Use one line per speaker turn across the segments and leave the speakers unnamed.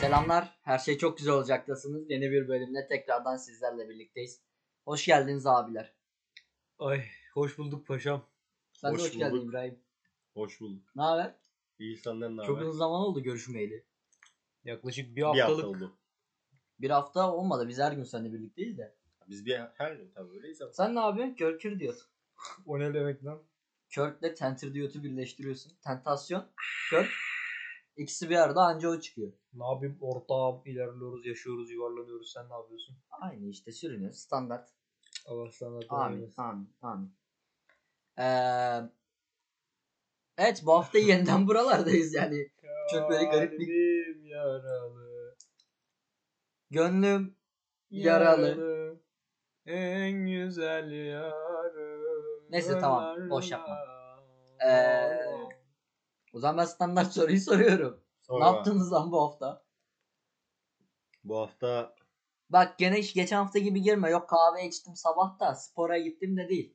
Selamlar. Her şey çok güzel olacaktasınız. Yeni bir bölümle tekrardan sizlerle birlikteyiz. Hoş geldiniz abiler.
Ay hoş bulduk paşam.
Sen
Hoş
de hoş geldin
bulduk.
İbrahim.
Hoş bulduk.
Ne haber?
İyi senden ne
Çok
haber?
uzun zaman oldu görüşmeyeli.
Yaklaşık bir
Bir
haftalık.
hafta oldu.
Bir hafta olmadı. Biz her gün seninle birlikteyiz de.
Biz bir her gün tabii öyleyiz ama.
Sen ne yapıyorsun? Körkür diyorsun.
O ne demek lan?
Körkle tentür diyotu birleştiriyorsun. Tentasyon, körk. İkisi bir arada anca o çıkıyor.
Ne yapayım ortağım ilerliyoruz yaşıyoruz yuvarlanıyoruz sen ne yapıyorsun?
Aynı işte sürünüyor. Standart.
Allah sana
Amin. Amin. Amin. Ee, evet bu hafta yeniden buralardayız yani. Çok böyle garip bir-
bir... yaralı.
Gönlüm Yaralı.
En güzel yarı.
Neyse, tamam, boş yapma.
Yaralı.
Ee, O zaman ben standart soruyu soruyorum.
Sonra
Ne yaptınız lan bu hafta?
Bu hafta
Bak gene hiç geçen hafta gibi girme. Yok kahve içtim sabah da spora gittim de değil.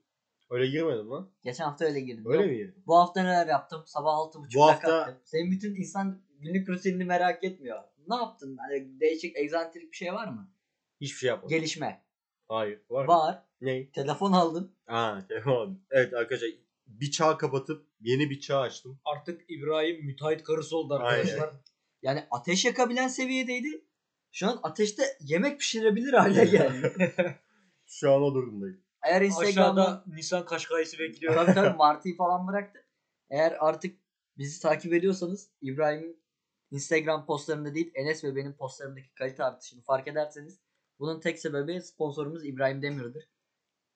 öyle girmedim lan.
Geçen hafta öyle girdim.
Öyle
Yok,
mi?
Bu hafta neler yaptım? Sabah altı
Bu
buçukta
hafta-
kalktım. Senin bütün insan günlük rutinini merak etmiyor. Ne yaptın? Hani değişik, egzantrik bir şey var mı?
Hiçbir şey yapmadım.
Gelişme.
Hayır. Var mı?
Var.
Ne?
Telefon aldın.
Aa, tamam. Evet arkadaşlar bir çağ kapatıp yeni bir çağ açtım.
Artık İbrahim müteahhit karısı oldu
Aynen.
arkadaşlar.
Yani ateş yakabilen seviyedeydi. Şu an ateşte yemek pişirebilir hale geldi.
Şu an o durumdayım.
Eğer Instagram'da
Aşağıda Nisan Kaşkay'sı bekliyor.
Tabii tabii Martı'yı falan bıraktı. Eğer artık bizi takip ediyorsanız İbrahim'in Instagram postlarında değil Enes ve benim postlarımdaki kalite artışını fark ederseniz bunun tek sebebi sponsorumuz İbrahim Demir'dir.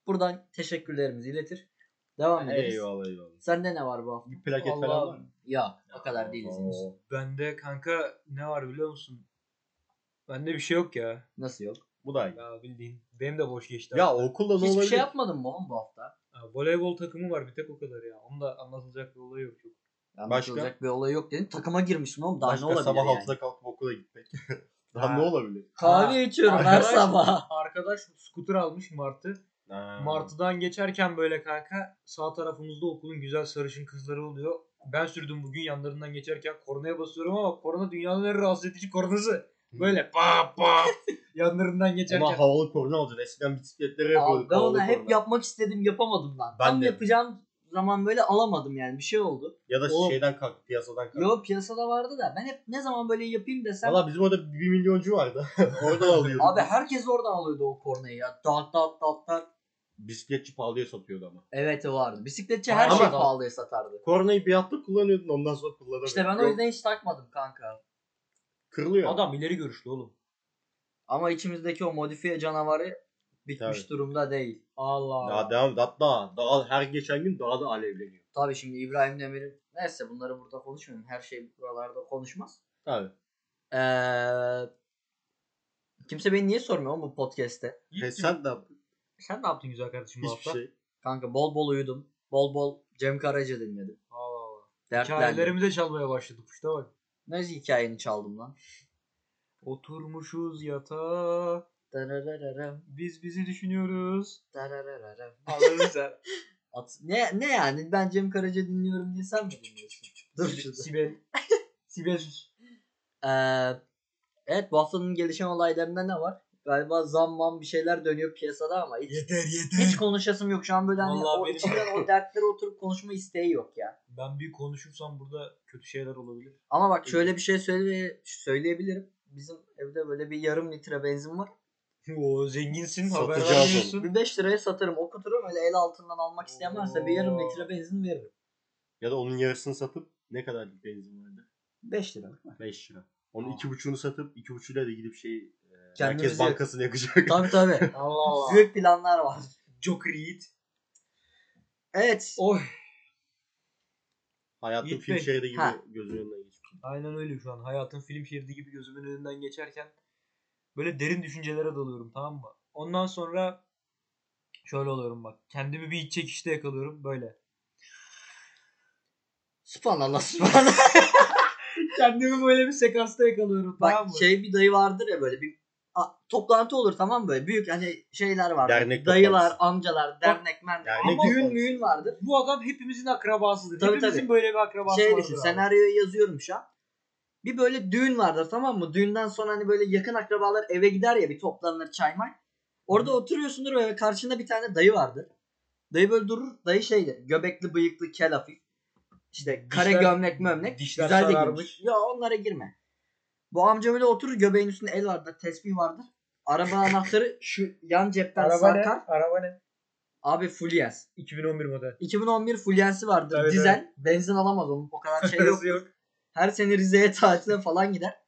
Buradan teşekkürlerimizi iletir. Devam ederiz.
Eyvallah eyvallah.
Sende ne var bu hafta?
Bir plaket
Allah
falan var mı?
Ya o kadar değiliz henüz.
Oo.
Bende kanka ne var biliyor musun? Bende bir şey yok ya.
Nasıl yok?
Bu da iyi.
Ya bildiğin. Benim de boş geçti.
Ya okulda ne
Hiçbir
olabilir?
şey yapmadın mı oğlum bu hafta?
Ha, voleybol takımı var bir tek o kadar ya. Onu da anlatılacak bir olay yok. Çok.
Anlatılacak bir olay yok dedin. Takıma girmişsin oğlum. Daha
Başka
ne olabilir
sabah
yani?
altıda kalkıp okula gitmek.
Ha.
Daha ne olabilir?
Kahve
Ha,
içiyorum her
arkadaş-
sabah.
Arkadaş scooter almış Martı.
Ha.
Martı'dan geçerken böyle kanka sağ tarafımızda okulun güzel sarışın kızları oluyor. Ben sürdüm bugün yanlarından geçerken koronaya basıyorum ama korona dünyanın en rahatsız edici koronası. Böyle pa pa yanlarından geçerken.
Hmm. Ama havalı korna alacaksın. Eskiden bisikletlere
Abi
yapıyorduk
ben
havalı
onu hep
korna.
yapmak istedim yapamadım lan.
Ben
Tam
de.
yapacağım zaman böyle alamadım yani bir şey oldu.
Ya da
Oğlum.
şeyden kalk, piyasadan kalk.
Yo piyasada vardı da ben hep ne zaman böyle yapayım desem.
Valla bizim orada bir milyoncu vardı. Oradan alıyorduk.
Abi herkes oradan alıyordu o kornayı ya. Dalt dalt dalt dalt.
Bisikletçi pahalıya satıyordu ama.
Evet o vardı. Bisikletçi her
Ama-
şeyi pahalıya satardı.
Kornayı bir hafta kullanıyordun ondan sonra kullanamıyordun.
İşte ben o
Yok,
yüzden hiç takmadım kanka.
Kırılıyor.
Adam ileri görüşlü oğlum.
Ama içimizdeki o modifiye canavarı bitmiş
Tabii.
durumda değil.
Allah.
Daha devam hatta daha her geçen gün daha da alevleniyor.
Tabii şimdi İbrahim Demir'in neyse bunları burada konuşmayalım. Her şey buralarda konuşmaz.
Tabii.
Ee, kimse beni niye sormuyor oğlum bu podcast'te?
E sen de yap-
Sen ne yaptın güzel kardeşim bu
hiçbir
hafta?
şey.
Kanka bol bol uyudum. Bol bol Cem Karaca dinledim.
Allah Allah.
Dertlendim.
Hikayelerimize çalmaya başladık işte bak.
Ne hikayeni çaldım lan?
Oturmuşuz yatağa.
Dararararam,
Biz bizi düşünüyoruz.
dararararam.
Allah'ını sen.
At- ne, ne yani? Ben Cem Karaca dinliyorum diye sen mi dinliyorsun? Dur
Sibel-
şurada.
Sibel. Sibel sus.
Ee, evet bu haftanın gelişen olaylarında ne var? Galiba zammam bir şeyler dönüyor piyasada ama hiç,
Yeter yeter.
hiç konuşasım yok. Şu an böyle hani
Vallahi
o
benim-
içimden o dertlere oturup konuşma isteği yok ya.
Ben bir konuşursam burada kötü şeyler olabilir.
Ama bak şöyle bir şey söyle söyleyebilirim. Bizim evde böyle bir yarım litre benzin var.
O zenginsin haber
Satacağım
vermiyorsun.
Bir 5 liraya satarım. O kuturum öyle el altından almak isteyen varsa bir yarım
Oo.
litre benzin veririm.
Ya da onun yarısını satıp ne kadar bir benzin vardı?
5 lira.
5 lira. Onun
Aa.
iki buçuğunu satıp iki buçuğuyla da gidip şey e,
Kendimizi
Merkez Bankası'nı yakacak.
tabii tabii.
Allah Allah.
Büyük planlar var.
Joker Yiğit.
Evet.
Oy.
Hayatın
Yiğit
film
Bey.
şeridi gibi
Ha.
gözünün önünden geçmiş.
Aynen öyle şu an. Hayatın film şeridi gibi gözümün önünden geçerken böyle derin düşüncelere dalıyorum tamam mı? Ondan sonra şöyle oluyorum bak. Kendimi bir iç çekişte yakalıyorum böyle.
Subhanallah subhanallah.
Kendimi böyle bir sekansta yakalıyorum tamam
Bak
mı?
şey bir dayı vardır ya böyle bir a- toplantı olur tamam mı? böyle büyük hani şeyler vardır.
Dernek
Dayılar,
toplantısı.
amcalar, dernek, men.
dernek
Ama düğün
toplantısı.
müğün vardır.
Bu adam hepimizin akrabasıdır.
Tabii,
Hepimizin
tabii.
böyle bir akrabası
Şey
vardır
düşün
abi.
senaryoyu yazıyorum şu an. Bir böyle düğün vardır tamam mı? Düğünden sonra hani böyle yakın akrabalar eve gider ya bir toplanır çay may. Orada oturuyorsundur ve karşında bir tane dayı vardır. Dayı böyle durur. Dayı şeydi. Göbekli bıyıklı kel hafif. İşte kare
Dişler-
gömlek mömlek.
dişler
Güzel de
sararmış.
girmiş. Ya onlara girme. Bu amca böyle oturur. Göbeğin üstünde el vardır. Tesbih vardır. Araba anahtarı şu yan cepten
Araba ne?
sarkar.
Araba ne?
Abi Fulyens.
2011 model.
2011 Fulyensi vardır.
Evet,
Dizel. Benzin alamaz onun. O kadar şey yok.
Parası yok.
Her sene Rize'ye tatile falan gider.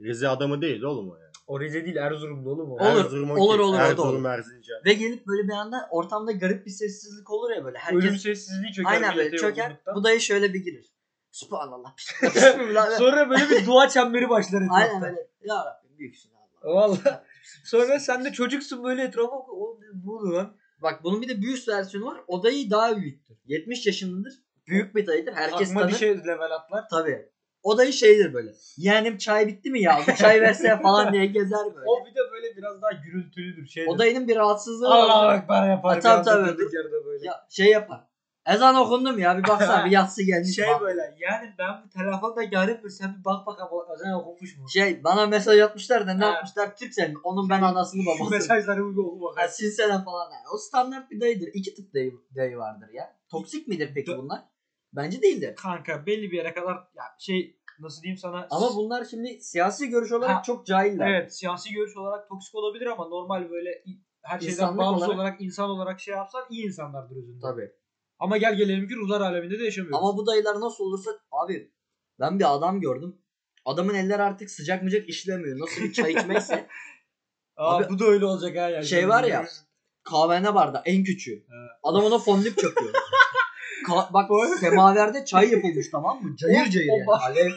Rize adamı değil oğlum o yani.
O Rize değil Erzurumlu oğlum o.
Oğlum. Olur,
Erzurum
olur,
okey.
olur, o da
Erzurum
olur.
Erzincan.
Ve gelip böyle bir anda ortamda garip bir sessizlik olur ya böyle. Herkes
Ölüm sessizliği çöker.
aynen böyle
millete
çöker.
yorgunluktan.
Bu dayı şöyle bir girir. Subhanallah. Bismillah.
Sonra böyle bir dua çemberi başlar etrafta.
aynen böyle. Ya Rabbim büyüksün Allah.
Vallahi. Sonra sen de çocuksun böyle etrafa bak- oğlum dedim, ne oluyor lan?
Bak bunun bir de büyük versiyonu var. O dayı daha büyüktür. 70 yaşındadır. Büyük bir dayıdır. Herkes
Akma
tanır.
bir şey level atlar.
Tabii. O dayı şeydir böyle. Yeğenim çay bitti mi ya? Bir çay verse falan diye gezer böyle.
O bir de böyle biraz daha gürültülüdür. Şeydir.
O dayının bir rahatsızlığı var.
Allah ekber yapar.
Ha, tabii,
bir anda
tabii.
durduk yerde böyle.
Ya şey yapar. Ezan okundu mu ya? Bir baksana bir yatsı gelmiş.
şey
falan.
böyle yani ben bu telefonda yarın bir sen bir bak bakalım o özen okumuş mu?
Şey bana mesaj atmışlar da ne
Ha.
yapmışlar? Türksel mi? Onun ben anasını
Şu
babasını.
mesajları bir oku
Ha,
bakalım.
silsene falan. Yani. O standart bir dayıdır. İki tip dayı, dayı vardır ya. Toksik midir peki
Dö-
bunlar? Bence değildir.
Kanka belli bir yere kadar ya şey nasıl diyeyim sana
Ama bunlar şimdi siyasi görüş olarak
Ha.
çok cahiller.
Evet siyasi görüş olarak toksik olabilir ama normal böyle i- her şeyden
İnsanlık
bağımsız
olarak-
olarak... insan olarak şey yapsan iyi insanlardır özünde.
Tabii.
Ama gel gelelim ki ruhlar aleminde de yaşamıyoruz.
Ama bu dayılar nasıl olursa abi ben bir adam gördüm. Adamın eller artık sıcak mıcak işlemiyor. Nasıl bir çay içmekse.
Aa,
Abi-
bu da öyle olacak ha yani.
Şey var ya. Kahvene barda en küçüğü.
Evet.
Adam ona fondip çöküyor. Ka- bak semaverde çay yapılmış tamam mı? Cayır cayır
o
yani.
bak-
Alev.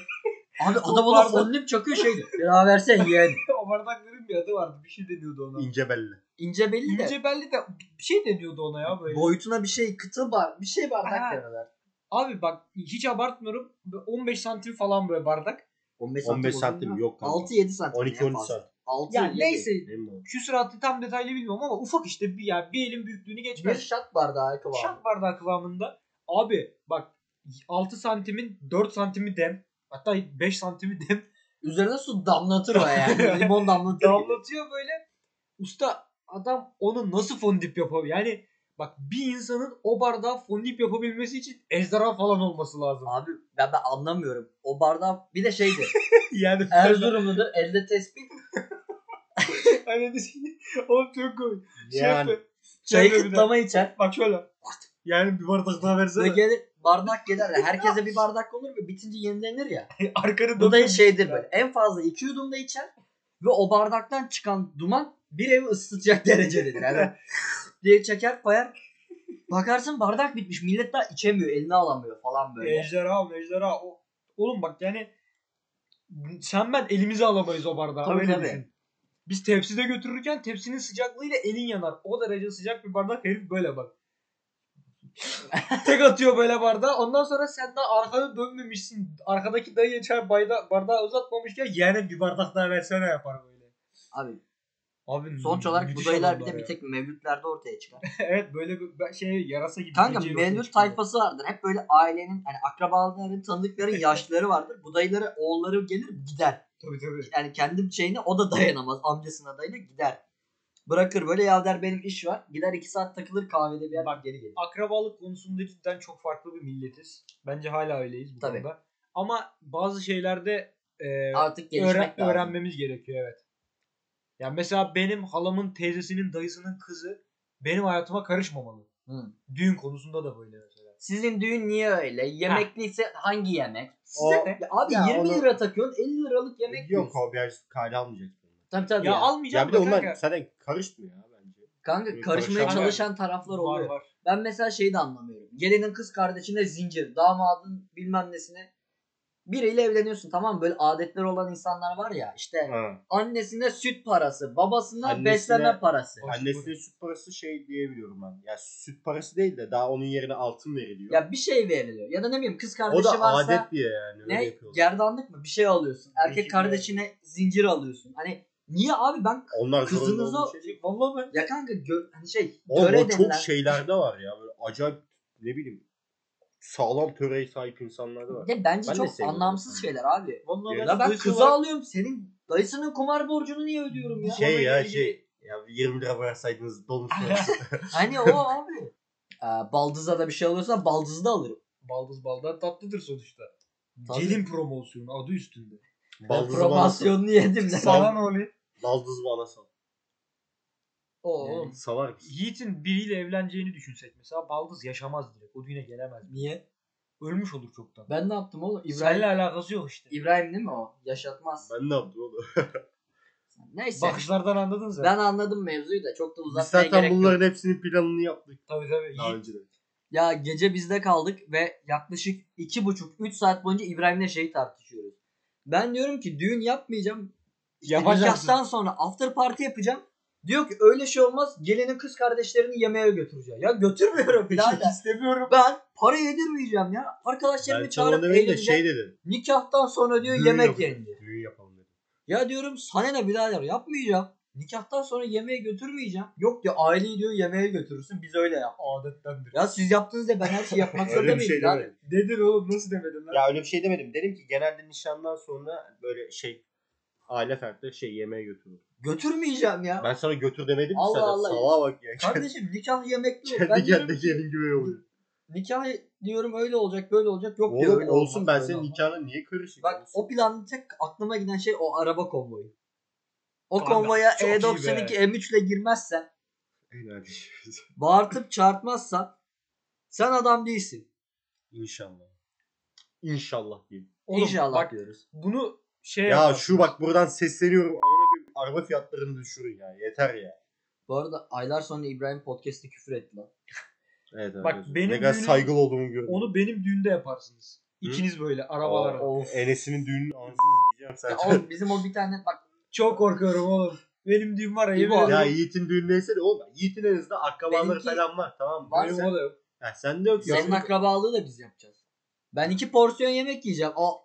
Abi
O
adam ona
bardak-
fondip çakıyor şey şeydi. Bira versen yeğen.
o bardakların bir adı vardı. Bir şey deniyordu ona.
İnce belli.
İnce belli de.
İnce belli de bir şey deniyordu ona ya böyle.
Boyutuna bir şey kıtı bar bir şey bardak
Ha.
deniyorlar.
Abi bak hiç abartmıyorum. 15 santim falan böyle bardak.
15 santim.
15 santim yok kanka.
6-7 santim.
12-13 santim.
6
Yani neyse
Benim o.
küsur hattı tam detaylı bilmiyorum ama ufak işte bir yani bir elin büyüklüğünü
Bir
geçmez.
şat bardağı kıvamı.
Şat bardağı kıvamında. Abi bak 6 santimin 4 santimi dem. Hatta 5 santimi dem.
Üzerine su damlatır o yani. Limon damlatır. gibi.
Damlatıyor böyle. Usta adam onu nasıl fondip yapabilir? Yani bak bir insanın o bardağı fondip yapabilmesi için ejderha falan olması lazım.
Abi ben, ben anlamıyorum. O bardağı bir de şeydi.
yani
Erzurumludur elde tespih.
hani oğlum çok komik. Şey
Yani
yapıyor.
Çayı
Şöyle bir de-
kıtlama içer.
Bak şöyle. Yani bir bardak daha
Ve
versene.
gelir bardak gelir. ya, Herkese bir bardak olur ve bitince yenilenir ya.
Arkanı
Bu da
dönüyor.
şeydir böyle. En fazla iki yudum da içer. Ve o bardaktan çıkan duman bir evi ısıtacak derecededir. Yani diye çeker koyar. Bakarsın bardak bitmiş. Millet daha içemiyor. Eline alamıyor falan böyle.
Ejderha mejderha. O, oğlum bak yani sen ben elimize alamayız o bardağı.
Tabii,
öyle
tabii.
düşün. Biz tepside götürürken tepsinin sıcaklığıyla elin yanar. O derece sıcak bir bardak herif böyle bak. Tek atıyor böyle bardağı. Ondan sonra sen daha arkanı dönmemişsin. Arkadaki dayıya çay bayda, bardağı uzatmamışken yeğenim bir bardak daha versene yapar böyle.
Abi
Abi
sonuç olarak bu
müthiş
dayılar bir
adamlar
de bir
ya.
tek mevlütlerde ortaya çıkar.
evet böyle bir şey yarasa gibi.
Kanka
gece ortaya
mevlüt
çıkıyor.
tayfası vardır. Hep böyle ailenin hani akrabaların, tanıdıkların yaşlıları vardır. Bu dayıları oğulları gelir gider.
Tabii tabii.
yani kendi şeyine o da dayanamaz. Amcasına dayanır gider. Bırakır böyle ya der benim iş var. Gider iki saat takılır kahvede bir yer bak geri gelir.
akrabalık konusunda cidden çok farklı bir milletiz. Bence hala öyleyiz bu
Tabii.
konuda. Ama bazı şeylerde e,
Artık gelişmek
öğren-
lazım.
öğrenmemiz gerekiyor evet. Yani mesela benim halamın teyzesinin dayısının kızı benim hayatıma karışmamalı.
Hı.
Düğün konusunda da böyle mesela.
Sizin düğün niye öyle? Yemekliyse hangi yemek?
O-
Size ne? Ya abi
Ya
20
onu-
lira takıyorsun 50 liralık yemek
yok
yiyorsun.
o biraz kayda almayacak.
Tabii tabii.
Ya,
Ya,
almayacağım
Ya bir de
da kanka.
onlar zaten karışmıyor ya bence.
Kanka
Karışan-
karışmaya çalışan taraflar
var
oluyor.
var.
Ben mesela şeyi de anlamıyorum. Gelinin kız kardeşine zincir, damadın bilmem nesine biriyle evleniyorsun tamam mı? Böyle adetler olan insanlar var ya işte
Ha.
annesine süt parası, babasına
Annesine-
besleme parası.
Hoş
Annesine süt parası şey diyebiliyorum ben. Ya süt parası değil de daha onun yerine altın veriliyor.
Ya bir şey veriliyor. Ya da ne bileyim kız
o
kardeşi
da
varsa
adet diye yani öyle
ne
yapıyorlar.
gerdanlık mı bir şey alıyorsun. Erkek
Zincir.
kardeşine zincir alıyorsun. Hani niye abi ben
Onlar zorunda
Kızınız
olduğu
o-
şey değil.
bu. Vallahi ben
ya kanka gö- hani şey
Oğlum
göre
o çok
denilen-
şeylerde var ya. Böyle acayip ne bileyim sağlam töreye sahip insanlar da var.
Bir de bence
Ben de
çok
seviyorum.
anlamsız şeyler abi.
Vallahi
Ya
Ya ben
dayısı
kızı
var.
alıyorum senin dayısının kumar borcunu niye ödüyorum ya?
Şey
Konuyla
ya
ilgili-
şey. Ya 20 lira bıraksaydınız dolmuş parası.
Hani o abi. Aa, baldızda da bir şey alıyorsa baldızı da alırım.
Baldız baldan tatlıdır sonuçta.
Tabii.
Gelin promosyonu adı üstünde.
Baldızı bana sal.
Promosyonunu yedim de.
Sağ-
Sana ne oluyor?
Baldızı bana sal.
Oo.
Salar mısın?
Yiğit'in biriyle evleneceğini düşünsek mesela Baldız yaşamaz direkt. O düğüne gelemez.
Niye?
Ölmüş olur çoktan.
Ben ne yaptım oğlum? İbrahim
Seninle alakası yok işte.
İbrahim değil mi o? Yaşatmaz.
Ben ne yaptım oğlum?
Neyse.
Bakışlardan anladın zaten.
Ben anladım mevzuyu da çok da
Biz
uzatmaya
zaten
gerek yok.
bunların hepsinin planını yaptık
Tabii tabii.
daha
Yiğit,
önce de.
Ya gece bizde kaldık ve yaklaşık iki buçuk üç saat boyunca İbrahim'le şeyi tartışıyoruz. Ben diyorum ki düğün yapmayacağım. İşte
Yapacaksın.
nikahtan sonra after party yapacağım. Diyor ki öyle şey olmaz. Gelinin kız kardeşlerini yemeğe götüreceğim. Ya götürmüyorum birader.
istemiyorum.
Ben para yedirmeyeceğim ya. Arkadaşlarımı
Ben çalan
çağırıp
öyle de
eğleneceğim.
şey dedi.
Nikahtan sonra diyor
Düğün
yemek
yapalım.
yenecek.
Düğün yapalım dedi.
Ya diyorum sana ne birader yapmayacağım. Nikahtan sonra yemeğe götürmeyeceğim. Yok ya aileyi diyor yemeğe götürürsün biz öyle yap.
Adettendir.
Ya siz yaptınız da ben her şeyi yapmak zorunda
Öyle bir
mıyım?
şey
birader?
demedim.
Dedin oğlum nasıl demedin lan?
Ya öyle bir şey demedim. Dedim ki genelde nişandan sonra böyle şey aile fertleri şey yemeğe götürür.
Götürmeyeceğim ya.
Ben sana götür demedim mi
Allah
sana?
Allah.
Salağa bak ya.
Kardeşim nikah yemek değil.
kendi
Ben diyorum
kendine
ki,
gelin gibi oluyor.
nikah diyorum öyle olacak böyle olacak. Yok diyor
Oğlum
öyle
olsun
olmaz,
ben
böyle
senin
olmaz.
nikahına niye karışayım?
Bak
Olsun.
o planın tek aklıma giden şey o araba konvoyu. O
Kanka,
konvoya E
çok iyi be.
E92 M3 ile girmezsen
Helal olsun.
bağırtıp çağırtmazsan sen adam değilsin.
İnşallah. İnşallah diyeyim.
Oğlum,
İnşallah
bak,
diyoruz.
Bunu şey
Ya şu bak buradan sesleniyorum. Amına koyayım, Araba fiyatlarını düşürün ya. Yeter ya.
Bu arada aylar sonra İbrahim podcast'te küfür etti lan.
Evet,
Bak,
evet.
benim
ne kadar
düğünüm-
saygılı olduğumu gördüm.
Onu benim düğünde yaparsınız. İkiniz böyle arabalara.
Of.
Enes'inin düğününü ansız yiyeceğim
Ya
zaten.
oğlum bizim o bir tane bak
Çok korkuyorum oğlum. Benim düğün var ya. yemin
İbo.
ederim.
ya Yiğit'in düğünündeyse de oğlum. Yiğit'in en azından akrabaları
Benimki-
falan var tamam mı?
Var
Benim
sen-
o da yok.
Ha, sen de yok.
senin
Sen-
akrabalığı da biz yapacağız. Ben iki porsiyon yemek yiyeceğim. O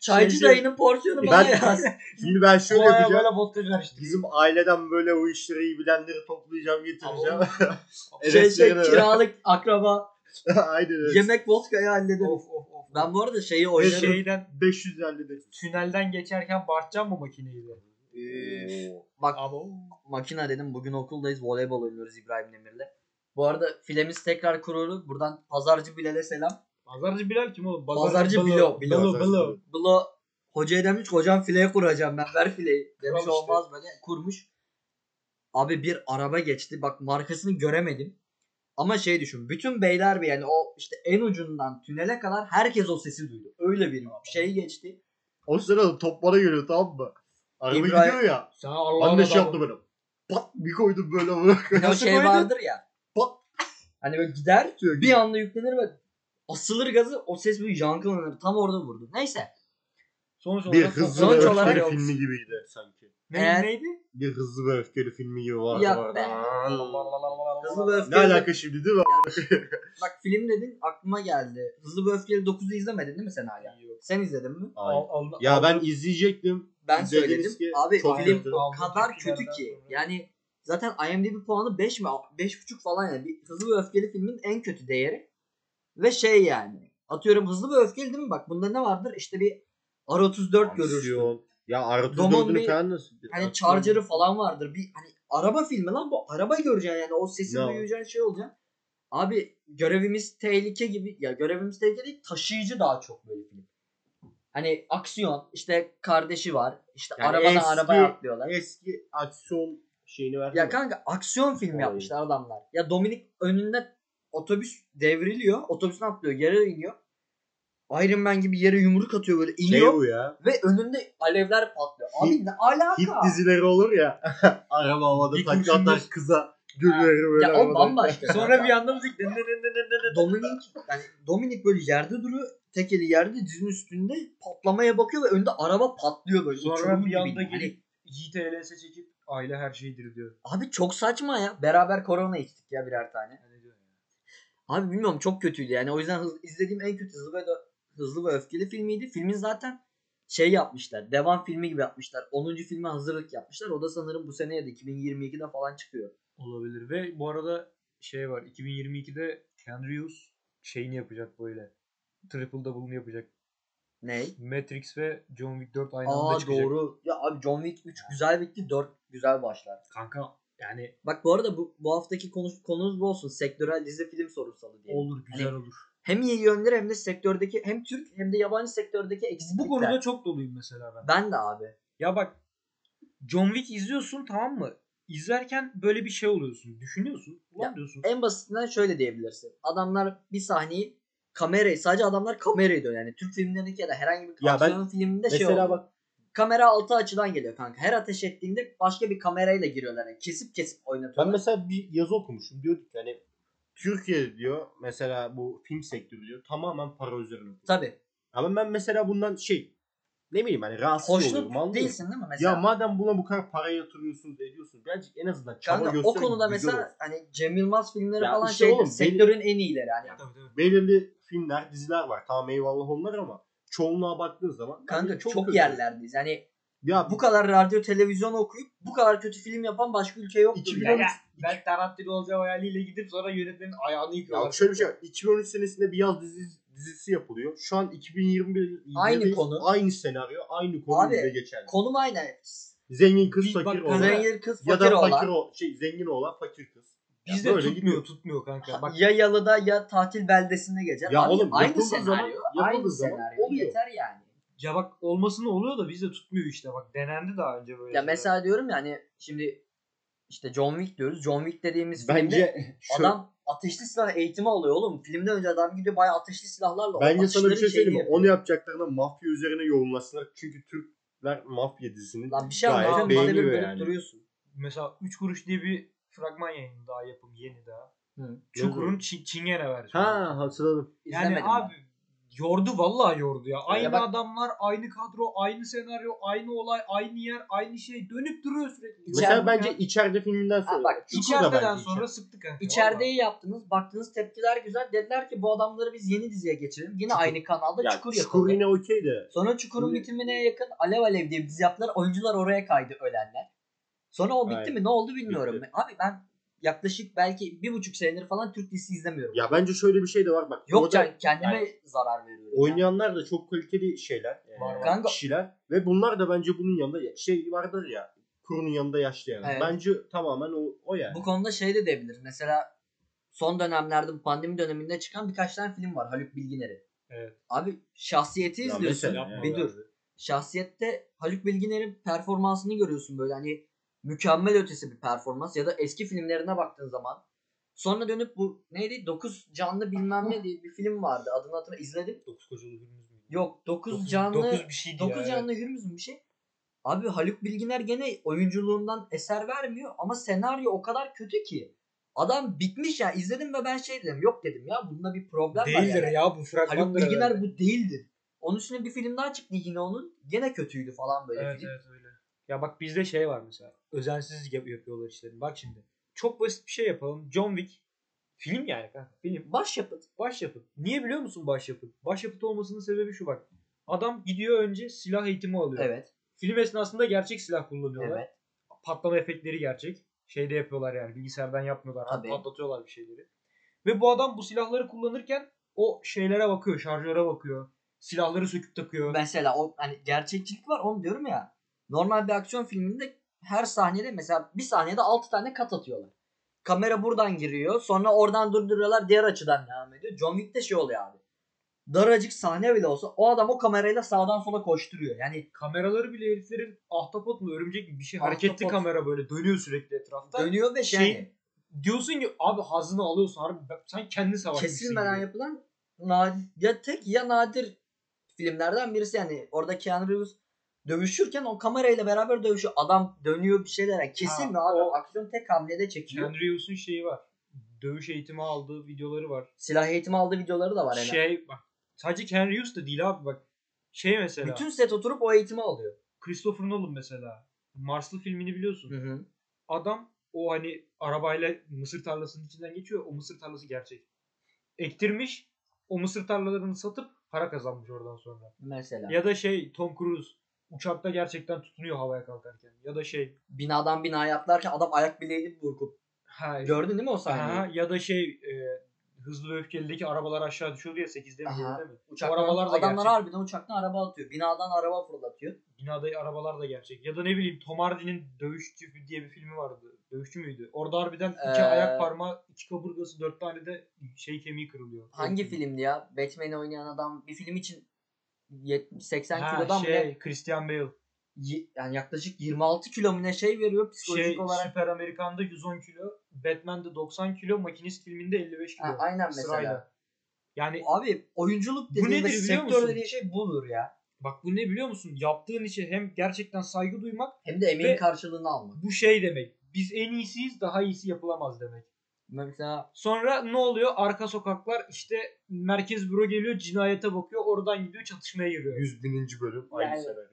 çaycı
Şey, şey.
dayının porsiyonu bana
E Ben-
yaz.
Şimdi ben şöyle
Bayağı
yapacağım.
böyle vodka karıştı.
Bizim aileden böyle o işleri iyi bilenleri toplayacağım getireceğim.
şey şey
Enes'lere-
kiralık akraba
Aynen öyle.
yemek vodkaya hallederim.
Of of of.
Ben bu arada şeyi
Ve
oynarım.
şeyden
500 de.
tünelden geçerken bağırtacağım bu makineyi de.
Bak
Ama o-
makina dedim bugün okuldayız voleybol oynuyoruz İbrahim Demir'le. Bu arada filemiz tekrar kurulu. Buradan pazarcı Bilal'e selam.
Pazarcı Bilal kim oğlum?
Pazarcı Bilo, Bilo,
Bilo, Bilo.
Blo hocaya demiş ki hocam fileye kuracağım ben ver fileyi. Demiş
Kuralım işte.
olmaz böyle kurmuş. Abi bir araba geçti bak markasını göremedim. Ama şey düşün bütün beyler bir yani o işte en ucundan tünele kadar herkes o sesi duydu. Öyle bir şey geçti.
O sırada top bana geliyor tamam mı? Araba
İbrahim-
gidiyor ya.
Sen
Ben
Allah'ın
de şey
adamı.
yaptım böyle. Pat bir koydum böyle bunu.
Hani o
Nasıl
şey
koydun?
vardır ya.
Pop.
Hani böyle gider bir anda yüklenir ve asılır gazı o ses bir yankılanır. Tam orada vurdu. Neyse.
Sonuç
Bir
olarak
hızlı
Sonuç
ve
olarak
öfkeli
olmuş.
filmi gibiydi sanki.
Ne,
Eğer-
neydi?
Bir hızlı ve öfkeli filmi gibi vardı.
Ya
orada.
be.
Aa.
Hızlı ve
Ne
öfkeli.
alaka şimdi değil mi?
Bak film dedin aklıma geldi. Hızlı ve öfkeli 9'u izlemedin değil mi sen hala?
Yok.
Sen izledin mi?
Ay.
Al- al-
Ya ben izleyecektim.
Ben
Dediniz
söyledim.
ki
Abi
çok
film
kötü.
o kadar
Aldığım
kötü
tepkilerden
ki.
sonra.
Yani zaten IMDb puanı 5 mi? 5.5 falan yani. Bir Hızlı ve Öfkeli filmin en kötü değeri. Ve şey yani. Atıyorum Hızlı ve Öfkeli değil mi? Bak bunda ne vardır? İşte bir R34 görürsün.
Aksiyon. Ya
Domon
R2-4'ünü
bir-
falan nasıl?
Hani Charger'ı falan vardır. Bir hani araba filmi lan bu. Araba göreceksin yani. O sesi
Ne var?
duyacaksın şey olacaksın. Abi görevimiz tehlike gibi. Ya görevimiz tehlike değil. Taşıyıcı daha çok böyle film. Hani aksiyon. işte kardeşi var. işte
Yani
arabadan
eski-
arabaya atlıyorlar.
Eski aksiyon şeyini verdi.
Ya kanka aksiyon filmi
Oy.
yapmışlar adamlar. Ya Dominik önünde otobüs devriliyor. Otobüsten atlıyor. Yere iniyor. Iron Man gibi yere yumruk atıyor böyle
Şey
iniyor
bu ya.
ve önünde alevler patlıyor. Abi ne alaka?
Hit dizileri olur ya. Araba havada
Bir
takla
kurşunla-
atar kıza. Gülleri böyle.
ya o
havada.
bambaşka.
Sonra bir anda müzik. dın dın dın dın dın dın.
Dominik yani Dominik böyle yerde duruyor. Tek eli yerde dizinin üstünde patlamaya bakıyor ve önünde araba patlıyor böyle.
Sonra
uçurum
bir
gibi.
anda
Hani
gelip- Yiğit'e LS çekip aile her şeydir diyor.
abi çok saçma ya. Beraber korona içtik ya birer tane.
Yani diyor.
Abi bilmiyorum çok kötüydü yani. O yüzden hız- izlediğim en kötü hızlı ve hızlı ve öfkeli filmiydi. Filmin zaten şey yapmışlar. Devam filmi gibi yapmışlar. 10. filme hazırlık yapmışlar. O da sanırım bu seneye de 2022'de falan çıkıyor.
Olabilir. Ve bu arada şey var. 2022'de Ken Reeves şeyini yapacak böyle. Triple double'ını yapacak.
Ney?
Matrix ve John Wick 4 aynı anda
Aa
çıkacak.
doğru. Ya abi John Wick 3 güzel bitti. 4 güzel başlar.
Kanka yani
Bak bu arada bu, bu haftaki konuş, konumuz bu olsun. Sektörel dizi film sorunsalı diye.
olur güzel
Hani-
olur.
Hem iyi yönleri hem de sektördeki hem Türk hem de yabancı sektördeki eksiklikler.
Bu konuda çok doluyum mesela ben.
ben de abi.
Ya bak John Wick izliyorsun tamam mı? İzlerken böyle bir şey oluyorsun. Düşünüyorsun. Ulan
e-
diyorsun.
En basitinden şöyle diyebilirsin. Adamlar bir sahneyi kamerayı sadece adamlar kamerayı dönüyor. Yani Türk filmlerindeki ya da herhangi bir
Ya ben-
aksiyon filminde şey
Mesela
oluyor.
bak-
kamera altı açıdan geliyor kanka. Her ateş ettiğinde başka bir kamerayla giriyorlar. Yani kesip kesip
Ben
oynatıyorlar.
mesela bir yazı okumuşum. Diyorduk ki hani Türkiye diyor mesela bu film sektörü diyor tamamen para üzerine.
Tabii.
Ama ben mesela bundan şey ne bileyim hani rahatsız oluyorum
Hoşnut
anladın mı?
değilsin değil mi mesela?
Ya madem buna bu kadar para yatırıyorsunuz ediyorsunuz birazcık en azından çaba
Kanka,
gösterin.
o konuda
güzel
mesela
olsun.
hani Cem Yılmaz filmleri
Ya
falan
işte
şeydir.
oğlum,
sektörün en iyileri yani.
Tabii, tabii.
belirli filmler diziler var tamam eyvallah onlar ama çoğunluğa baktığın zaman
Kanka
bence
çok,
Hani kötü.
yerlerdeyiz. Yani
Ya
bu kadar radyo televizyon okuyup bu kadar kötü film yapan başka ülke yok.
2013
Yani.
Ben Tarantino olacağı hayaliyle gidip sonra yönetmenin ayağını
ya
yıkıyorlar.
şöyle bir şey var. 2013 senesinde bir yaz dizisi, dizisi yapılıyor. Şu an 2021
Aynı
'deyiz.
konu.
Aynı senaryo, aynı konu
Abi,
bize geçerli.
Konum aynı.
Zengin kız
Bir bak-
fakir olan.
Oğlan.
Zengin kız
ya
fakir
da
olan.
fakir o şey zengin olan fakir kız. Ya
Bizde
böyle
tutmuyor
gidiyor.
tutmuyor kanka. Bak
Ya yalıda ya tatil beldesinde geçer.
Ya
Abi,
oğlum,
aynı
yapıldığı
senaryo.
zaman-
aynı
yapıldığı zaman
senaryo.
oluyor.
Yeter yani.
ya bak olmasını oluyor da bizde tutmuyor işte. Bak denendi daha önce böyle.
Ya
şeyler.
mesela diyorum ya hani şimdi işte John Wick diyoruz. John Wick dediğimiz filmde
Bence şöyle-
adam ateşli silah eğitimi alıyor oğlum. Filmden önce adam gidiyor bayağı ateşli silahlarla.
Bence sana
atışların
bir şey söyleyeyim mi?
şeyini
Onu yapacaklarına mafya üzerine yoğunlaşsınlar. Çünkü Türkler mafya dizisini
Lan bir şey
gayet
anlatacağım bana bir
beğeniyor
bölüp
yani.
duruyorsun.
mesela 3 kuruş diye bir fragman yayını daha yapım yeni daha.
Hı.
Çukur'un çi- Çingene versiyonu.
Ha hatırladım.
Yani
İzlemedim
abi yordu vallahi yordu ya. Aynı
bak-
adamlar, aynı kadro, aynı senaryo, aynı olay, aynı yer, aynı şey dönüp duruyor sürekli.
Mesela
İçeride-
bence içeride filminden sonra.
Ha, bak,
Çukur da
İçeriden
bence
sonra
içeride.
sıktı kanka.
İçerideyi
vallahi.
yaptınız. Baktınız tepkiler güzel. Dediler ki bu adamları biz yeni diziye geçirelim. Yine
Çukur.
aynı kanalda
Ya,
Çukur
çukur,
yapıldı.
yine okey de.
Sonra Çukur'un
Yine-
bitimine yakın Alev Alev diye bir dizi yaptılar. Oyuncular oraya kaydı ölenler. Sonra o bitti
Aynen.
mi ne oldu bilmiyorum.
Bitti.
Abi ben yaklaşık belki bir buçuk senedir falan Türk dizisi izlemiyorum.
Ya bence şöyle bir şey de var bak.
Yok
orada
can kendime zarar veriyorum. ya.
Oynayanlar da çok kaliteli şeyler. e,
Var, var.
Kanka-
Kişiler. Ve bunlar da bence bunun yanında ya- şey vardır ya. Kurunun yanında yaşlayan.
Evet.
Bence tamamen o, o yani.
Bu konuda şey de diyebiliriz. Mesela son dönemlerde bu pandemi döneminde çıkan birkaç tane film var. Haluk Bilginer'in.
Evet.
Abi şahsiyeti
Ya
izliyorsun.
mesela
yapma
bir
be.
dur. Şahsiyette Haluk Bilginer'in performansını görüyorsun böyle hani mükemmel ötesi bir performans ya da eski filmlerine baktığın zaman. Sonra dönüp bu neydi? 9 canlı bilmem ne diye bir film vardı. Adını hatırla izledim.
Dokuz kocalı hürmüz müydü?
Yok 9
Dokuz-
canlı
dokuz bir şeydi
9
ya, evet.
canlı Hürmüz mü bir şey? Abi Haluk Bilginer gene oyunculuğundan eser vermiyor ama senaryo o kadar kötü ki. Adam bitmiş ya izledim ve ben şey dedim yok dedim ya bunda bir problem var
Değildir
yani.
ya bu fragmandır.
Haluk Bilginer
herhalde.
bu değildir. Onun üstüne bir film daha çıktı yine onun. Gene kötüydü falan böyle
Evet
film.
evet öyle. Ya bak bizde şey var mesela. Özensiz yap- yapıyorlar işlerini. Bak şimdi. Çok basit bir şey yapalım. John Wick. Film yani kanka. Film.
Başyapıt.
Başyapıt. Niye biliyor musun başyapıt? Başyapıt olmasının sebebi şu bak. Adam gidiyor önce silah eğitimi alıyor.
Evet.
Film esnasında gerçek silah kullanıyorlar.
Evet.
Patlama efektleri gerçek. Şeyde yapıyorlar yani bilgisayardan yapmıyorlar.
Tabii.
Patlatıyorlar bir şeyleri. Ve bu adam bu silahları kullanırken o şeylere bakıyor, şarjöre bakıyor. Silahları söküp takıyor.
Mesela o hani gerçekçilik var onu diyorum ya. Normal bir aksiyon filminde her sahnede mesela bir sahnede 6 tane kat atıyorlar. Kamera buradan giriyor. Sonra oradan durduruyorlar. Diğer açıdan devam ediyor. John Wick'te şey oluyor abi. Daracık sahne bile olsa o adam o kamerayla sağdan sola koşturuyor. Yani
Kameraları bile heriflerin ahtapot mu örümcek mi bir şey
Ahtapot.
hareketli kamera böyle dönüyor sürekli etrafta.
dönüyor ve şey,
şey- Diyorsun ki abi hazını alıyorsun harbi Ben- sen kendi savaşmışsın.
kesilmeden
gibi.
yapılan nadir, ya tek ya nadir filmlerden birisi yani orada Keanu Reeves dövüşürken o kamerayla beraber dövüşüyor. Adam dönüyor bir şeyler. Yani kesilmiyor abi.
o-
Aksiyon tek hamlede çekiyor.
Keanu Reeves'un şeyi var. Dövüş eğitimi aldığı videoları var.
Silah eğitimi aldığı videoları da var. Yani.
Şey bak sadece Keanu Reeves de değil abi bak. Şey mesela
Bütün set oturup o eğitimi alıyor.
Christopher Nolan mesela. Marslı filmini biliyorsun. Adam o hani arabayla mısır tarlasının içinden geçiyor. O mısır tarlası gerçek. Ektirmiş. O mısır tarlalarını satıp para kazanmış oradan sonra.
Mesela.
Ya da şey Tom Cruise uçakta gerçekten tutunuyor havaya kalkarken. Ya da şey
Binadan binaya atlarken adam ayak bileğini burkup.
ha,
Hani Gördün değil mi o sahneyi?
ha, ya da şey e, hızlı ve öfkelideki arabalar aşağı düşüyordu ya 8'de mi
Aha.
7'de mi? Bu
Uçaklar,
arabalar da
adamlar
gerçek.
harbiden uçaktan araba atıyor. Binadan araba fırlatıyor.
Binada arabalar da gerçek. Ya da ne bileyim Tom Hardy'nin Dövüşçü diye bir filmi vardı. Dövüşçü müydü? Orada harbiden iki
Ee,
ayak parmağı, iki kaburgası, dört tane de şey kemiği kırılıyor.
Hangi filmdi ya? Batman'i oynayan adam bir film için 70 80
Ha,
kilodan
şey,
bile
Christian Bale.
y- yani yaklaşık 26 kilo mu ne şey veriyor psikolojik
Şey,
olarak.
Süper Amerikan'da 110 kilo, Batman'de 90 kilo, Makinist filminde 55 kilo.
Ha, aynen mesela.
Sırayla. Yani
Abi oyunculuk dediğimiz
nedir biliyor
sektör
musun?
dediği şey budur ya.
bak bu ne biliyor musun? Yaptığın işe hem gerçekten saygı duymak
Hem de emeğin
Ve-
karşılığını almak.
bu şey demek. Biz en iyisiyiz daha iyisi yapılamaz demek.
Mesela
Sonra ne oluyor? Arka sokaklar işte merkez büro geliyor cinayete bakıyor oradan gidiyor çatışmaya giriyor.
100 bininci bölüm
Yani-
aynı sever.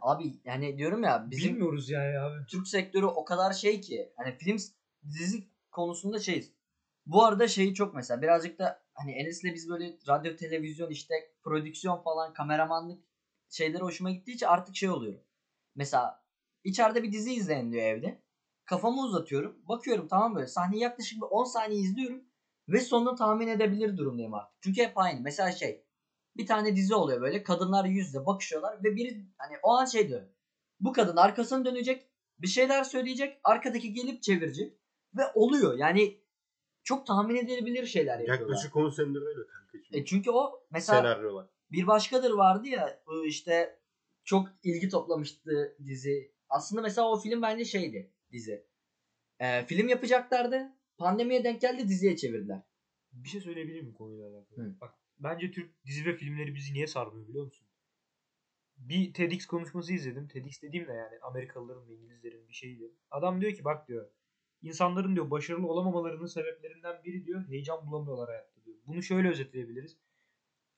abi yani diyorum ya bizim
Bilmiyoruz yani abi.
Türk sektörü o kadar şey ki hani film dizi konusunda şeyiz. Bu arada şeyi çok mesela birazcık da hani Enes'le biz böyle radyo televizyon işte prodüksiyon falan kameramanlık şeyleri hoşuma gittiği için artık şey oluyorum. Mesela içeride bir dizi izleyelim diyor evde. Kafamı uzatıyorum. Bakıyorum tamam böyle sahneyi yaklaşık bir 10 saniye izliyorum. Ve sonunu tahmin edebilir durumdayım artık. Çünkü hep aynı. Mesela şey bir tane dizi oluyor böyle kadınlar yüzle bakışıyorlar ve biri hani o an şey diyor. Bu kadın arkasını dönecek bir şeyler söyleyecek arkadaki gelip çevirecek ve oluyor yani çok tahmin edilebilir şeyler yapıyorlar.
Yaklaşık 10 senedir öyle kankacığım.
E çünkü o mesela
Senaryolar.
bir başkadır vardı ya bu işte çok ilgi toplamıştı dizi. Aslında mesela o film bence şeydi dizi. Ee, film yapacaklardı. Pandemiye denk geldi diziye çevirdiler.
Bir şey söyleyebilir miyim konuyla alakalı?
Hı.
Bak bence Türk dizi ve filmleri bizi niye sarmıyor biliyor musun? Bir TEDx konuşması izledim. TEDx dediğim de yani Amerikalıların ve İngilizlerin bir şeydi. Adam diyor ki bak diyor insanların diyor başarılı olamamalarının sebeplerinden biri diyor heyecan bulamıyorlar hayatta diyor. Bunu şöyle özetleyebiliriz.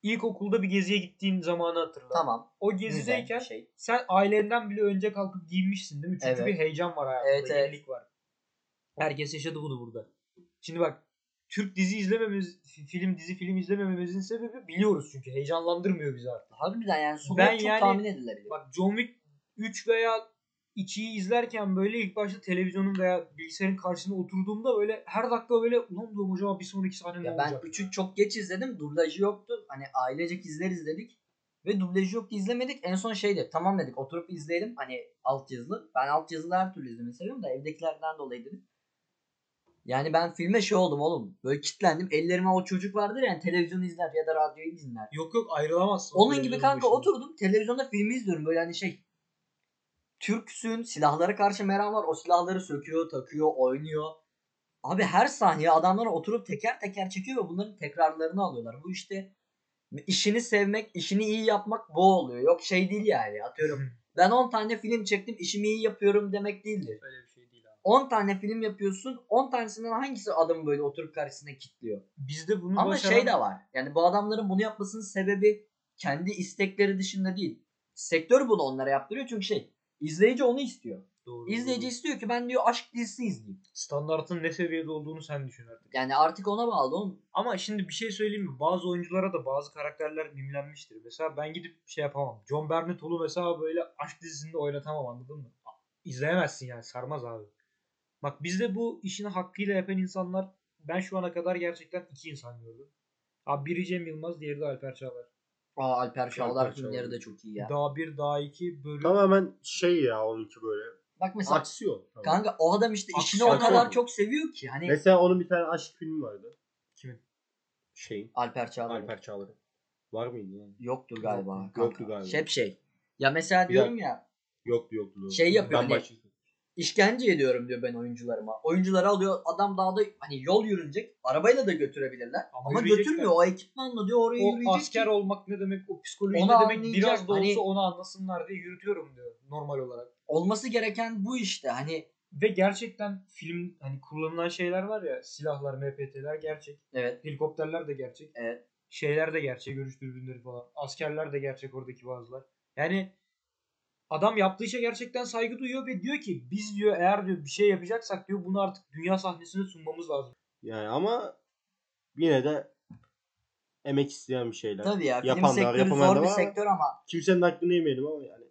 İlkokulda bir geziye gittiğin zamanı hatırla.
Tamam.
O
güzel bir
gezideyken
şey.
sen ailenden bile önce kalkıp giyinmişsin değil mi? Çünkü
Evet.
bir heyecan var hayatında.
Evet, evet.
yenilik var. Herkes yaşadı bunu burada. Şimdi bak Türk dizi izlememiz, fi- film dizi film izlemememizin sebebi biliyoruz çünkü heyecanlandırmıyor bizi artık.
Harbiden yani sonu
Ben
çok
yani-
tahmin edilebilir.
Bak John Wick 3 veya 2'yi izlerken böyle ilk başta televizyonun veya bilgisayarın karşısına oturduğumda böyle her dakika böyle ulan diyorum acaba bir sonraki sahne ne
ya ben
olacak?
üçü çok geç izledim. Dublajı yoktu. Hani ailecek izleriz dedik. Ve dublajı yoktu izlemedik. En son şey de tamam dedik oturup izleyelim. Hani altyazılı. Ben altyazılı her türlü izlemeyi seviyorum da evdekilerden dolayı dedim. Yani ben filme şey oldum oğlum. Böyle kitlendim. Ellerime o çocuk vardır yani televizyonu izler ya da radyoyu izler.
Yok yok ayrılamazsın.
Onun gibi
televizyonun
kanka
başında.
oturdum televizyonda filmi izliyorum böyle hani şey. Türksün silahlara karşı meram var o silahları söküyor takıyor oynuyor. Abi her saniye adamlara oturup teker teker çekiyor ve bunların tekrarlarını alıyorlar. Bu işte işini sevmek, işini iyi yapmak bu oluyor. Yok şey değil yani atıyorum. Ben 10 tane film çektim işimi iyi yapıyorum demek değildir.
Öyle bir şey değil abi.
10 tane film yapıyorsun 10 tanesinden hangisi adamı böyle oturup karşısına kitliyor?
Bizde bunu
Ama
başaran-
şey de var. Yani bu adamların bunu yapmasının sebebi kendi istekleri dışında değil. Sektör bunu onlara yaptırıyor çünkü şey izleyici onu istiyor.
Doğru,
İzleyici
doğru.
istiyor ki ben diyor aşk dizisi izleyeyim.
standartın ne seviyede olduğunu sen düşün artık.
Yani artık ona bağlı oğlum.
Ama şimdi bir şey söyleyeyim mi? Bazı oyunculara da bazı karakterler mimlenmiştir. Mesela ben gidip şey yapamam. John Bernthal'u mesela böyle aşk dizisinde oynatamam anladın mı? İzleyemezsin yani sarmaz abi. Bak bizde bu işini hakkıyla yapan insanlar ben şu ana kadar gerçekten iki insan gördüm. Abi biri Cem Yılmaz, diğeri de Alper Çağlar.
Aa Alper Şahlar
Alper
filmleri
Çağlar.
de çok iyi ya.
Daha bir, daha iki bölüm.
Tamamen şey ya onunki böyle.
Bak mesela
Aksiyon. Tamam.
kanka o adam işte işini o
Aksiyon
kadar
oldu.
çok seviyor ki hani
Mesela onun bir tane aşk filmi vardı.
Kimin?
Şeyin.
Alper Çağlar.
Alper Çağlar'ın. Var mıydı yani?
Yoktur galiba.
Yoktu,
kanka.
yoktu galiba.
Hep şey. Ya mesela
Bir dakika.
diyorum ya
Yoktu yoktu. doğru.
Şey yapıyor,
Ben
hani-
başlayayım.
İşkence ediyorum diyor ben oyuncularıma. Oyuncuları alıyor adam dağda hani yol yürünecek. Arabayla da götürebilirler.
Ama
Ama,
yürüyecekler.
götürmüyor. O ekipmanla diyor oraya yürüyecek.
O asker
ki.
olmak ne demek, o psikoloji
Onu
ne demek
anlayacak,
biraz da olsa
hani-
onu anlasınlar diye yürütüyorum diyor normal olarak.
Olması gereken bu işte. Hani
Ve gerçekten film hani kullanılan şeyler var ya silahlar, MPT'ler gerçek.
evet.
Helikopterler de gerçek.
Evet.
Şeyler de gerçek. Görüş dürbünleri falan. Askerler de gerçek oradaki bazılar. Yani adam yaptığı işe gerçekten saygı duyuyor ve diyor ki biz diyor eğer diyor bir şey yapacaksak diyor bunu artık dünya sahnesine sunmamız lazım.
Yani ama yine de emek isteyen bir şeyler.
Tabii ya film
Yapan da var,
sektörü
yapamayan da
zor bir
var.
sektör ama
Kimsenin hakkını yemeyelim ama yani.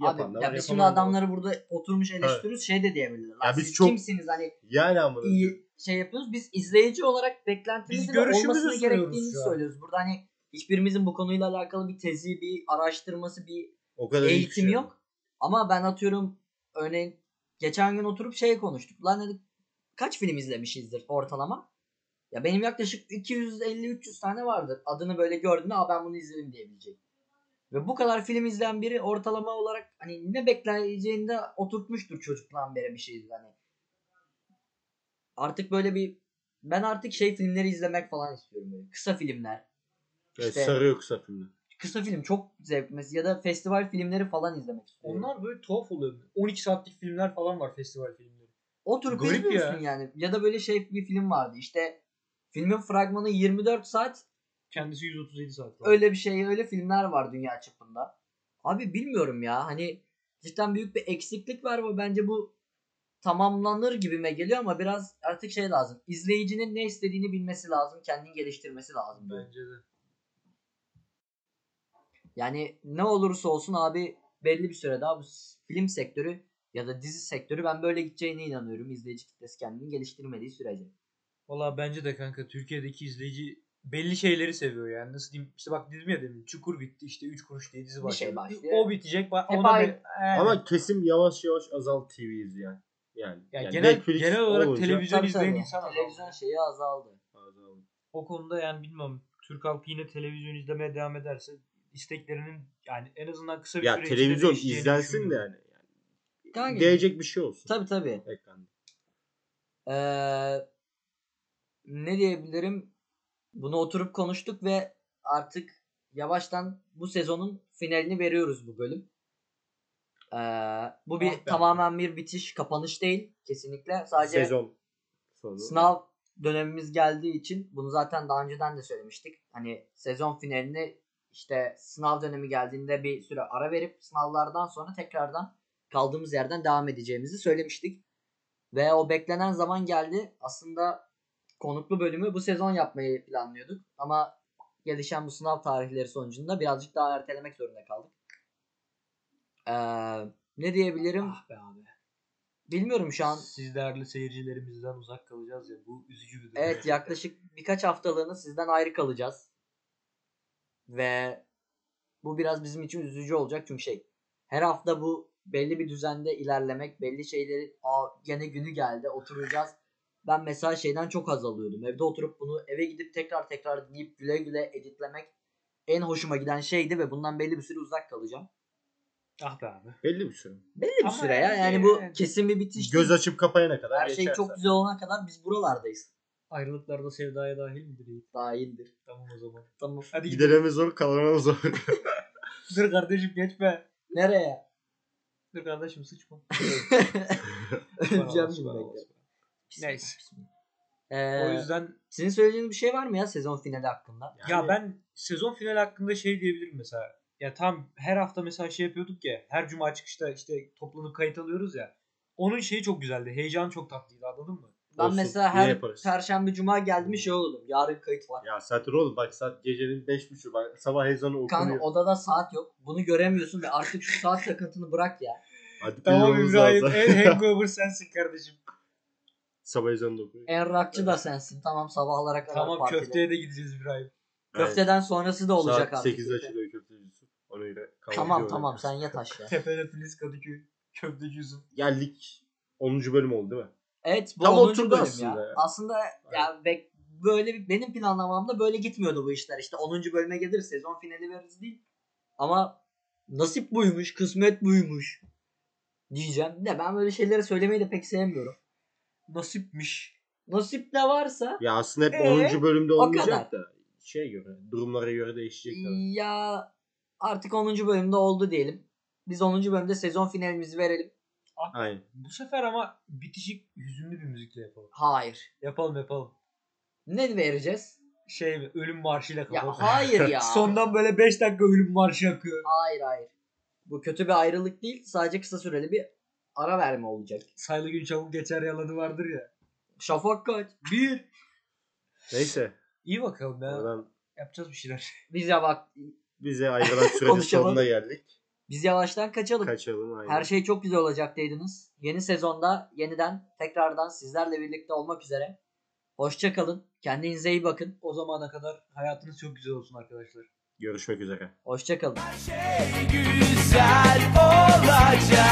Yapanlar
Abi, ya
var,
biz şimdi
yapamayan da var.
adamları burada oturmuş eleştiriyoruz. Şey de diyebilirler. Lan
Ya biz
siz
çok-
kimsiniz hani
Yani amına.
iyi şey yapıyoruz. Biz izleyici olarak beklentimizi
Biz
ve
görüşümüzü
olmasını
sunuyoruz
gerektiğini
şu an.
söylüyoruz. Burada hani hiçbirimizin bu konuyla alakalı bir tezi, bir araştırması, bir
O kadar iyi
eğitim
düşünüyorum.
yok. Ama ben atıyorum örneğin geçen gün oturup şey konuştuk. Lan dedik kaç film izlemişizdir ortalama? Ya benim yaklaşık 250-300 tane vardır. Adını böyle gördüğünde Aa, ben bunu izledim diyebilecek. Ve bu kadar film izleyen biri ortalama olarak hani ne bekleyeceğini de oturtmuştur çocukluğundan beri bir şey hani. Artık böyle bir ben artık şey filmleri izlemek falan istiyorum böyle. Kısa filmler
Evet,
İşte-
sarıyor kısa filmler.
kısa film çok zevkmesi ya da festival filmleri falan izlemek istiyorum.
Onlar böyle tuhaf oluyor. 12 saatlik filmler falan var festival filmleri.
o tür
garip
izliyorsun
ya.
yani. Ya da böyle şey bir film vardı işte filmin fragmanı 24 saat
Kendisi 137 saat falan.
öyle bir şey öyle filmler var dünya çapında. Abi bilmiyorum ya hani cidden büyük bir eksiklik var ve bence bu tamamlanır gibime geliyor ama biraz artık şey lazım. İzleyicinin ne istediğini bilmesi lazım. Kendini geliştirmesi lazım.
Bence de.
Yani ne olursa olsun abi belli bir süre daha bu s- film sektörü ya da dizi sektörü ben böyle gideceğine inanıyorum. İzleyici kitlesi kendini geliştirmediği sürece.
Valla bence de kanka Türkiye'deki izleyici belli şeyleri seviyor yani. Nasıl diyeyim? İşte bak dedim ya demin Çukur bitti işte 3 kuruş diye dizi
Bir
başladı.
şey başlıyor.
O bitecek. Bak,
Hep
ona
aynı.
ben- Aynen.
Ama kesim yavaş yavaş azal TV izleyen. Yani,
Ya
yani
genel-
Netflix
genel olarak
olunca
televizyon- Televizyon izleyen insan azaldı.
Televizyon şeyi azaldı.
azaldı.
o konuda yani bilmiyorum. Türk halkı yine televizyon izlemeye devam ederse isteklerinin yani en azından kısa bir
Ya
süre içinde
televizyon
değişeceğini
izlensin de hani
düşünmüyorum.
yani.
Kanka,
Değecek bir şey olsun.
Tabii tabii.
Ekranda.
Ee, ne diyebilirim? Bunu oturup konuştuk ve artık yavaştan bu sezonun finalini veriyoruz bu bölüm. Ee, bu bir
Ah be.
tamamen bir bitiş, kapanış değil kesinlikle. Sadece
Sezon sonu.
Sınav dönemimiz geldiği için bunu zaten daha önceden de söylemiştik. Hani sezon finalini işte sınav dönemi geldiğinde bir süre ara verip sınavlardan sonra tekrardan kaldığımız yerden devam edeceğimizi söylemiştik. Ve o beklenen zaman geldi. Aslında konuklu bölümü bu sezon yapmayı planlıyorduk. Ama gelişen bu sınav tarihleri sonucunda birazcık daha ertelemek zorunda kaldık. Ee, ne diyebilirim?
Ah be abi.
Bilmiyorum şu an
Siz değerli seyircilerimizden uzak kalacağız ya. Bu üzücü bir durum.
Evet yaklaşık birkaç haftalığını sizden ayrı kalacağız. Ve bu biraz bizim için üzücü olacak çünkü şey her hafta bu belli bir düzende ilerlemek belli şeyleri aa gene günü geldi oturacağız. Ben mesela şeyden çok haz alıyordum. Evde oturup bunu eve gidip tekrar tekrar dinleyip güle güle editlemek en hoşuma giden şeydi ve bundan belli bir süre uzak kalacağım.
Ah be abi.
Belli bir süre.
Belli bir
Ama
süre ya. Yani
yani-
bu kesin bir bitiş.
Göz
değil.
açıp kapayana kadar
her şey
geçer
çok
zaten.
güzel olana kadar biz buralardayız.
Ayrılıklarda sevdaya dahil midir?
Daha iyidir.
Tamam o zaman.
Tamam.
Hadi gidelim.
Gidereme zor kalanana zor.
Dur kardeşim geçme.
Nereye?
Dur kardeşim sıçma.
Öleceğim şimdi bekle.
Neyse.
Ee,
O yüzden
sizin söyleyeceğiniz bir şey var mı ya sezon finali hakkında?
ya ben sezon final hakkında şey diyebilirim mesela. Ya tam her hafta mesela şey yapıyorduk ya. Her cuma çıkışta işte toplanıp kayıt alıyoruz ya. Onun şeyi çok güzeldi. Heyecanı çok tatlıydı anladın mı?
Ben
Olsun,
mesela
yine
her
yaparız.
perşembe cuma geldiğimde şey olurdum. Yarın kayıt var.
Ya saatler oğlum bak saat gecenin 5.30 bak sabah ezanı okunuyor.
Kanka odada saat yok. Bunu göremiyorsun ve artık şu saat takıntını bırak ya.
Hadi
Tamam
uyumamız
İbrahim.
lazım.
En hangover sensin kardeşim.
Sabah ezanı da okunuyor.
En rockçı da sensin. Tamam sabahlara kadar
tamam
partide.
köfteye de gideceğiz İbrahim.
Köfteden sonrası da olacak
Saat
artık.
8'de açılıyor köftecisi. Ona göre kahvaltı
Tamam
yiyor.
tamam sen yat aşağı.
Tepede Filiz Kadıköy. Köfteci Yusuf.
Geldik 10. bölüm oldu değil mi?
Evet bu
Tam
10.
oturdu
bölüm
aslında
ya.
ya.
Aslında ya bek- böyle bir- benim planlamamda böyle gitmiyordu bu işler. İşte 10. bölüme gelir sezon finali veririz değil. Ama nasip buymuş, kısmet buymuş diyeceğim. De ben böyle şeyleri söylemeyi de pek sevmiyorum.
Nasipmiş.
Nasip de varsa
Ya aslında hep
Ee,
10. bölümde
o
olmayacak da şey göre durumlara göre değişecek. tabii.
ya artık 10. bölümde oldu diyelim. Biz 10. bölümde sezon finalimizi verelim.
Aynen.
Bu sefer ama bitişik hüzünlü bir müzikle yapalım.
Hayır.
Yapalım yapalım.
Ne vereceğiz?
Şey mi? Ölüm marşıyla
Ya
kapatalım.
hayır ya.
Sondan böyle 5 dakika ölüm marşı akıyor.
Hayır hayır. Bu kötü bir ayrılık değil. Sadece kısa süreli bir ara verme olacak.
Saylı gün çabuk geçer yalanı vardır ya.
Şafak kaç.
Bir.
Neyse.
İyi bakalım
Ee,
ya.
Oradan
Yapacağız bir şeyler.
Bize bak.
bize ayrılan sürenin
Konuşamadım.
sonuna geldik.
Biz yavaştan kaçalım.
Kaçalım aynen.
Her şey çok güzel olacak dediniz. Yeni sezonda yeniden tekrardan sizlerle birlikte olmak üzere. Hoşça kalın. Kendinize iyi bakın.
O zamana kadar hayatınız çok güzel olsun arkadaşlar.
Görüşmek üzere.
Hoşça kalın.
güzel olacak.